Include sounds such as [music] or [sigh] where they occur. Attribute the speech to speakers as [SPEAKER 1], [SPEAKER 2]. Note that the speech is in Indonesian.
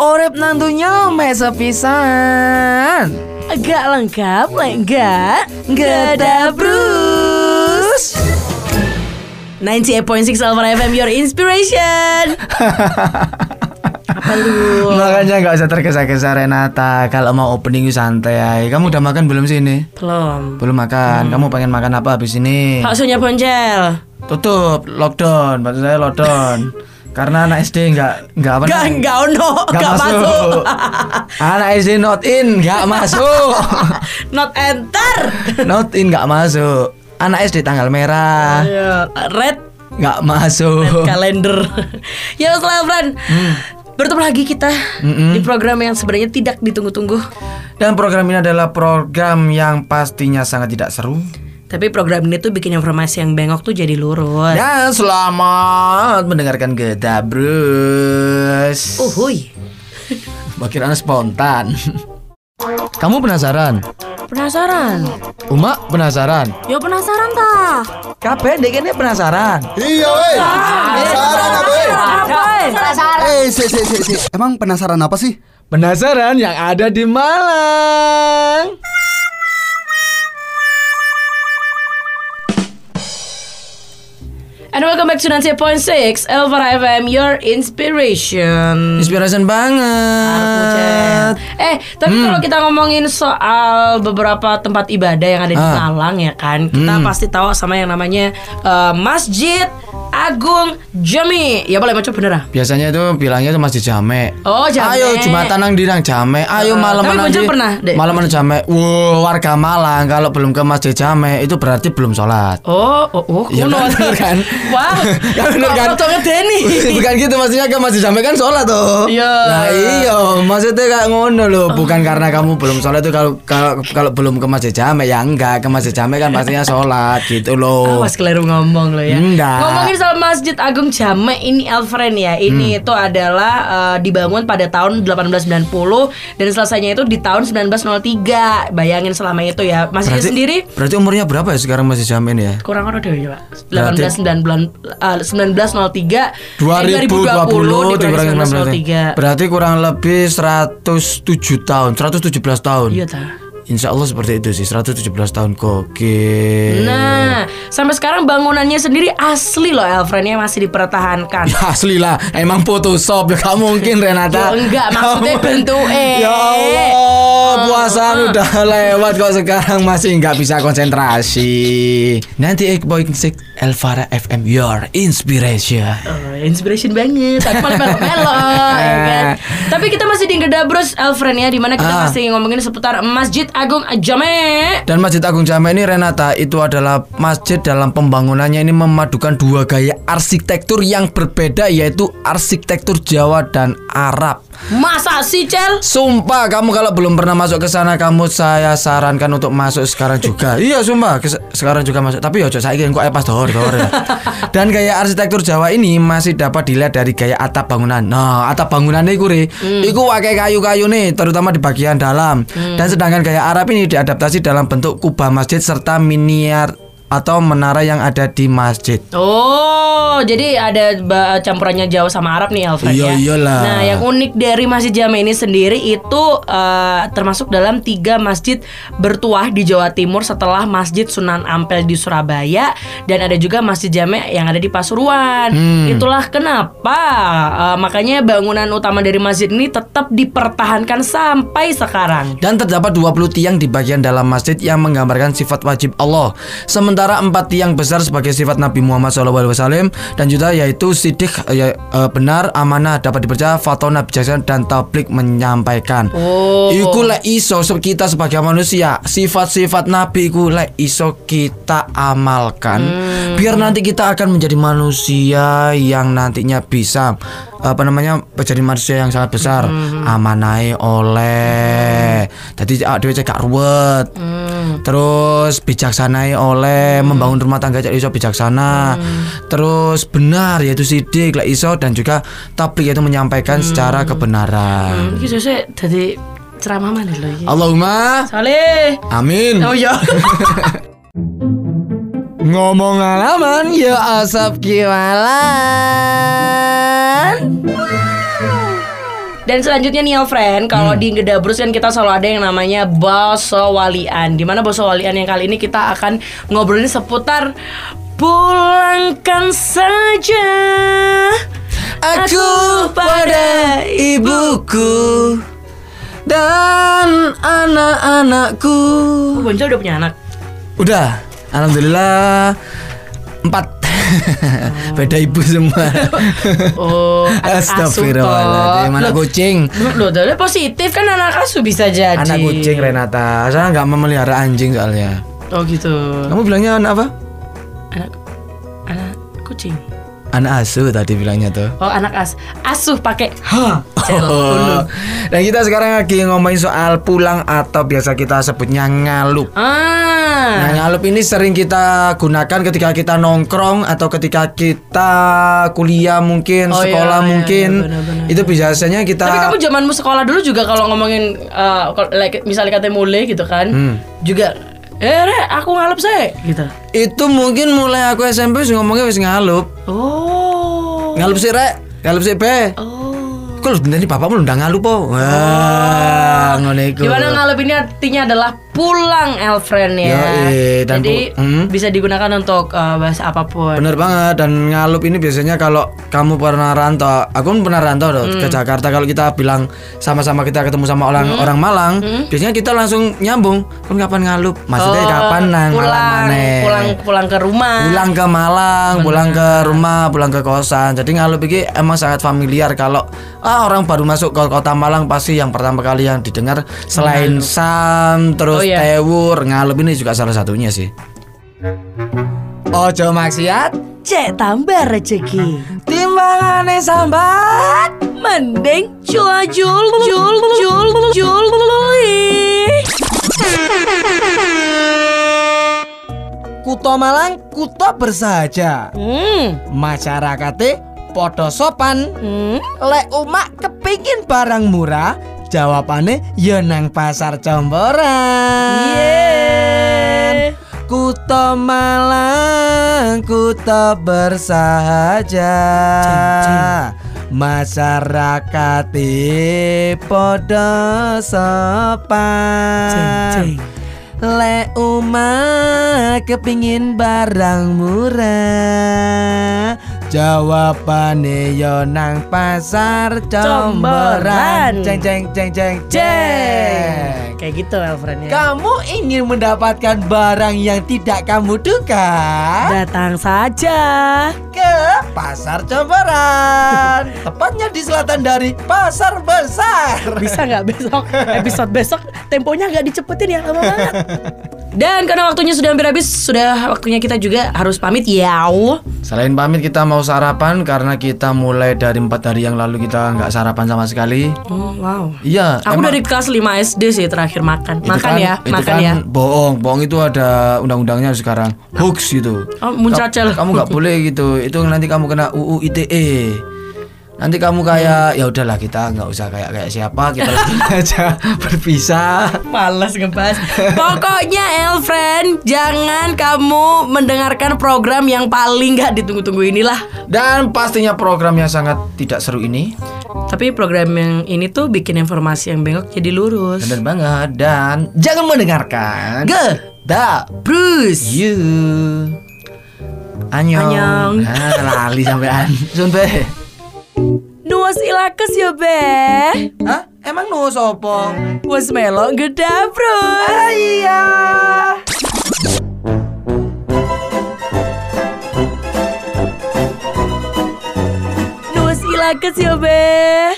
[SPEAKER 1] Urip nang donya mesa pisan.
[SPEAKER 2] Gak lengkap, enggak
[SPEAKER 1] Gada
[SPEAKER 2] Bruce 98.6 Alpha FM, your inspiration Apa lu?
[SPEAKER 1] Makanya nggak usah tergesa-gesa Renata. Kalau mau opening santai. aja. Kamu udah makan belum sih ini?
[SPEAKER 2] Belum
[SPEAKER 1] Belum makan. Kamu pengen makan apa habis ini?
[SPEAKER 2] Baksonya boncel
[SPEAKER 1] Tutup lockdown. Maksud saya lockdown. Karena anak SD nggak nggak apa
[SPEAKER 2] Gak,
[SPEAKER 1] namanya?
[SPEAKER 2] gak ono,
[SPEAKER 1] Nggak
[SPEAKER 2] gak masuk [laughs]
[SPEAKER 1] masuk. [laughs] anak SD not in nggak [laughs] masuk.
[SPEAKER 2] Not enter
[SPEAKER 1] not in nggak masuk. Anak SD tanggal
[SPEAKER 2] Ah.
[SPEAKER 1] merah
[SPEAKER 2] Ayo, Iya. Red
[SPEAKER 1] nggak masuk.
[SPEAKER 2] Oh. [laughs] kalender. ya Mas Lafran. Bertemu lagi kita di program yang sebenarnya tidak ditunggu-tunggu.
[SPEAKER 1] Dan program ini adalah program yang pastinya sangat tidak seru.
[SPEAKER 2] Tapi program ini tuh bikin informasi yang bengok tuh jadi lurus.
[SPEAKER 1] Dan selamat mendengarkan Geda Bruce.
[SPEAKER 2] Uhuy.
[SPEAKER 1] Makin aneh spontan. [laughs] Kamu penasaran?
[SPEAKER 2] Penasaran?
[SPEAKER 1] Uma penasaran?
[SPEAKER 2] Ya penasaran ta?
[SPEAKER 1] Kabeh dek ini penasaran.
[SPEAKER 3] Iya weh Penasaran apa weh Eh si si si si Emang penasaran apa sih?
[SPEAKER 1] Penasaran yang ada di Malang.
[SPEAKER 2] And welcome back to 98.6 Elvara FM, your inspiration.
[SPEAKER 1] Inspiration banget.
[SPEAKER 2] Eh, tapi
[SPEAKER 1] Hmm.
[SPEAKER 2] kalau kita ngomongin soal beberapa tempat ibadah yang ada di
[SPEAKER 1] Ah. Hmm.
[SPEAKER 2] Malang ya kan, kita pasti tahu sama yang namanya eh, Masjid Agung Jami. Ya boleh macam bener ah.
[SPEAKER 1] Biasanya itu bilangnya itu masih jame.
[SPEAKER 2] Oh, jame.
[SPEAKER 1] Ayo Jumatan nang dirang jame. Ayo
[SPEAKER 2] Eh,
[SPEAKER 1] malam
[SPEAKER 2] tapi
[SPEAKER 1] nang
[SPEAKER 2] Boncel
[SPEAKER 1] di-
[SPEAKER 2] pernah, Dek?
[SPEAKER 1] Malam nang jame. Wow, warga Malang kalau belum ke Masjid Jame itu berarti belum sholat.
[SPEAKER 2] Oh, oh, oh,
[SPEAKER 1] Iya
[SPEAKER 2] kuno.
[SPEAKER 1] kan,
[SPEAKER 2] [laughs]
[SPEAKER 1] bener kan?
[SPEAKER 2] Wah,
[SPEAKER 1] [laughs] Iya bener kan?
[SPEAKER 2] Kok cocoknya Denny?
[SPEAKER 1] [laughs] bukan gitu maksudnya kamu masih sampai kan sholat tuh
[SPEAKER 2] Iya. Ah.
[SPEAKER 1] nah iya maksudnya kayak ngono loh bukan karena kamu belum sholat tuh kalau kalau kalau belum ke masjid jame ya enggak ke masjid jame kan pastinya sholat gitu loh
[SPEAKER 2] Awas keliru ngomong lo ya.
[SPEAKER 1] Enggak.
[SPEAKER 2] Ngomongin soal Masjid Agung Jamek ini Elfren ya.
[SPEAKER 1] Hmm.
[SPEAKER 2] Ini itu adalah eh, dibangun pada tahun 1890 dan selesainya itu di tahun 1903. Bayangin selama itu ya. Masjid
[SPEAKER 1] berarti
[SPEAKER 2] sendiri
[SPEAKER 1] berarti umurnya berapa ya sekarang masjid jame ini ya
[SPEAKER 2] kurang orang deh ya, Pak.
[SPEAKER 1] Berarti-
[SPEAKER 2] 1890 eh, 1903
[SPEAKER 1] 2020 dikurangi 19.
[SPEAKER 2] 1903.
[SPEAKER 1] berarti kurang lebih 107 tahun 117 tahun
[SPEAKER 2] Iya ta.
[SPEAKER 1] Insya Allah seperti itu sih 117 tahun Gokil
[SPEAKER 2] Nah, sampai sekarang bangunannya sendiri asli loh Elfren ya masih dipertahankan.
[SPEAKER 1] [laughs] Ya asli lah Emang Photoshop Ya gak mungkin Renata
[SPEAKER 2] Yo, enggak, maksudnya Oh.
[SPEAKER 1] Kamu-
[SPEAKER 2] bentuknya.
[SPEAKER 1] Ya Allah Puasaan udah lewat Kok sekarang masih nggak bisa konsentrasi Nanti 8.6 Elvara FM Your Inspiration
[SPEAKER 2] Oh, inspiration banget. Aku paling melo-melo, ya kan? Tapi kita masih di Gedabros Elfren ya, dimana kita
[SPEAKER 1] Ah.
[SPEAKER 2] masih ngomongin seputar Masjid Agung Jame.
[SPEAKER 1] dan Masjid Agung Jame ini Renata itu adalah masjid dalam pembangunannya ini memadukan dua gaya arsitektur yang berbeda yaitu arsitektur Jawa dan Arab.
[SPEAKER 2] Masa sih Cel?
[SPEAKER 1] Sumpah kamu kalau belum pernah masuk ke sana kamu saya sarankan untuk masuk sekarang juga. iya sumpah kes- sekarang juga masuk. Tapi ya saya kok eh, pas dohor dohor ya. Dan gaya arsitektur Jawa ini masih dapat dilihat dari gaya atap bangunan. Nah, atap bangunan iku re, iku pakai kayu-kayu nih terutama di bagian dalam. Dan sedangkan gaya Arab ini diadaptasi dalam bentuk kubah masjid serta miniar atau menara yang ada di masjid.
[SPEAKER 2] Oh, jadi ada ba- campurannya Jawa sama Arab nih Elfren
[SPEAKER 1] Iya,
[SPEAKER 2] ya.
[SPEAKER 1] iyalah.
[SPEAKER 2] Nah, yang unik dari Masjid Jame ini sendiri itu eh, termasuk dalam tiga masjid bertuah di Jawa Timur setelah Masjid Sunan Ampel di Surabaya dan ada juga Masjid Jame yang ada di Pasuruan.
[SPEAKER 1] Hmm.
[SPEAKER 2] Itulah kenapa eh, makanya bangunan utama dari masjid ini tetap dipertahankan sampai sekarang.
[SPEAKER 1] Dan terdapat 20 tiang di bagian dalam masjid yang menggambarkan sifat wajib Allah. Sementara empat tiang besar sebagai sifat Nabi Muhammad SAW dan juga yaitu sidik ya, eh, benar, amanah, dapat dipercaya, fatona, bijaksana dan tablik menyampaikan.
[SPEAKER 2] Oh.
[SPEAKER 1] Iku lek iso se- kita sebagai manusia sifat-sifat Nabi iku lek iso kita amalkan biar nanti kita akan menjadi manusia yang nantinya bisa apa namanya menjadi manusia yang sangat besar amanai oleh jadi ah, dhewe cekak ruwet
[SPEAKER 2] Mm.
[SPEAKER 1] Hmm. terus bijaksanai oleh membangun rumah tangga jadi iso bijaksana terus benar yaitu sidik lek iso dan juga tablik yaitu menyampaikan secara kebenaran
[SPEAKER 2] Ini sesuk jadi ceramah mana loh
[SPEAKER 1] Oh.
[SPEAKER 2] ini?
[SPEAKER 1] Allahumma
[SPEAKER 2] Saleh.
[SPEAKER 1] Amin.
[SPEAKER 2] Mm. Oh ya.
[SPEAKER 1] Ngomong alaman ya asap kiwalan.
[SPEAKER 2] Dan selanjutnya nih friend, kalau di Gedabrus kan kita selalu ada yang namanya Boso Walian. Di mana Boso Walian yang kali ini kita akan ngobrolin seputar pulangkan saja
[SPEAKER 1] Aku pada ibuku dan anak-anakku.
[SPEAKER 2] Oh, Bonjol udah punya anak.
[SPEAKER 1] Udah, alhamdulillah empat. [laughs] Beda ibu [laughs] semua.
[SPEAKER 2] Oh, [laughs] anak asuh
[SPEAKER 1] Astagfirullahaladzim,
[SPEAKER 2] kok.
[SPEAKER 1] anak
[SPEAKER 2] Loh,
[SPEAKER 1] kucing.
[SPEAKER 2] Loh, tapi positif kan anak asuh bisa jadi.
[SPEAKER 1] Anak kucing Renata. Saya nggak memelihara anjing soalnya.
[SPEAKER 2] Oh gitu.
[SPEAKER 1] Kamu bilangnya anak apa?
[SPEAKER 2] Anak anak kucing.
[SPEAKER 1] Anak asuh tadi bilangnya tuh.
[SPEAKER 2] Oh, anak as asuh pakai
[SPEAKER 1] [laughs] Oh. Dan kita sekarang lagi ngomongin soal pulang atau biasa kita sebutnya ngalup. Nah,
[SPEAKER 2] Ah.
[SPEAKER 1] ngalup ini sering kita gunakan ketika kita nongkrong atau ketika kita kuliah mungkin,
[SPEAKER 2] Oh, iya,
[SPEAKER 1] sekolah
[SPEAKER 2] iya,
[SPEAKER 1] mungkin.
[SPEAKER 2] iya, benar-benar.
[SPEAKER 1] itu biasanya kita
[SPEAKER 2] Tapi kamu zamanmu sekolah dulu juga kalau ngomongin eh, kalau- like, misalnya kata mulai gitu kan. Juga eh Re, aku ngalap saya gitu.
[SPEAKER 1] itu mungkin mulai aku SMP wis ngomongnya wis ngalup.
[SPEAKER 2] Oh.
[SPEAKER 1] Ngalup sih, Rek. Ngalup sih, Be.
[SPEAKER 2] Oh.
[SPEAKER 1] Kok lu bentar nih bapakmu lu udah ngalup po. Wah, ngono iku.
[SPEAKER 2] Oh. Gimana ngalap ini artinya adalah pulang Elfriend ya.
[SPEAKER 1] Yoi, dan
[SPEAKER 2] Jadi
[SPEAKER 1] pul- Hmm?
[SPEAKER 2] bisa digunakan untuk eh, bahasa apapun.
[SPEAKER 1] Bener banget dan ngalup ini biasanya kalau kamu pernah rantau, aku pun pernah rantau loh
[SPEAKER 2] Hmm.
[SPEAKER 1] ke Jakarta kalau kita bilang sama-sama kita ketemu sama orang orang Malang, biasanya kita langsung nyambung. Kan kapan ngalup?
[SPEAKER 2] Hmm.
[SPEAKER 1] Maksudnya
[SPEAKER 2] Oh,
[SPEAKER 1] kapan nang Malang
[SPEAKER 2] pulang,
[SPEAKER 1] maneh?
[SPEAKER 2] pulang pulang ke rumah.
[SPEAKER 1] Pulang ke Malang, pulang ke rumah, pulang ke kosan. Jadi ngalup ini emang sangat familiar kalau ah, orang baru masuk ke kota Malang pasti yang pertama kali yang didengar selain sam terus
[SPEAKER 2] Oh, iya.
[SPEAKER 1] tewur, ngalup ini juga salah satunya sih. Ojo maksiat
[SPEAKER 2] Cek tambah rezeki.
[SPEAKER 1] Timbangane sambat
[SPEAKER 2] Mending cula jul jul jul jul
[SPEAKER 1] Kuto Malang kuto bersahaja
[SPEAKER 2] Hmm.
[SPEAKER 1] Masyarakate podo sopan
[SPEAKER 2] Hmm.
[SPEAKER 1] Lek umak kepingin barang murah Jawabane ya nang pasar Jomboran
[SPEAKER 2] Yeah.
[SPEAKER 1] Kuto Malang kuto bersahaja Masyarakat podo sopan Le uma kepingin barang murah Jawabane yo nang pasar
[SPEAKER 2] Comberan.
[SPEAKER 1] comberan Ceng ceng ceng ceng ceng
[SPEAKER 2] Kayak gitu Elfriend ya.
[SPEAKER 1] Kamu ingin mendapatkan barang yang tidak kamu duga
[SPEAKER 2] Datang saja.
[SPEAKER 1] ke pasar [laughs] comberan Tepatnya di selatan dari pasar besar
[SPEAKER 2] Bisa nggak besok episode besok temponya nggak dicepetin ya lama banget. Dan karena waktunya sudah hampir habis, sudah waktunya kita juga harus pamit ya.
[SPEAKER 1] Selain pamit kita mau sarapan karena kita mulai dari empat hari yang lalu kita nggak sarapan sama sekali.
[SPEAKER 2] Oh, wow.
[SPEAKER 1] Iya.
[SPEAKER 2] Aku
[SPEAKER 1] emang-
[SPEAKER 2] dari kelas 5 SD sih terakhir makan.
[SPEAKER 1] itu
[SPEAKER 2] Makan
[SPEAKER 1] kan-
[SPEAKER 2] ya,
[SPEAKER 1] itu
[SPEAKER 2] makan
[SPEAKER 1] kan
[SPEAKER 2] ya.
[SPEAKER 1] Bohong, bohong itu ada undang-undangnya sekarang. Hoax gitu.
[SPEAKER 2] Oh, muncacel.
[SPEAKER 1] Kamu nggak boleh gitu. Itu nanti kamu kena UU ITE. E. Nanti kamu kayak ya udahlah kita nggak usah kayak kayak siapa
[SPEAKER 2] [laughs]
[SPEAKER 1] kita aja berpisah.
[SPEAKER 2] Males ngebahas [laughs] Pokoknya Elfriend Jangan kamu mendengarkan program yang paling gak ditunggu-tunggu inilah
[SPEAKER 1] Dan pastinya program yang sangat tidak seru ini.
[SPEAKER 2] Tapi program yang ini tuh bikin informasi yang bengkok jadi lurus
[SPEAKER 1] Bener banget dan jangan mendengarkan. Ge, da,
[SPEAKER 2] Bruce
[SPEAKER 1] you. Anyong.
[SPEAKER 2] Anyong.
[SPEAKER 1] Nah, lali sampean. Sunbe.
[SPEAKER 2] Nuas ilakes ya be
[SPEAKER 1] Hah? Emang nu sopo?
[SPEAKER 2] Was melo geda Bruce
[SPEAKER 1] Iya.
[SPEAKER 2] Nuas ilakes ya be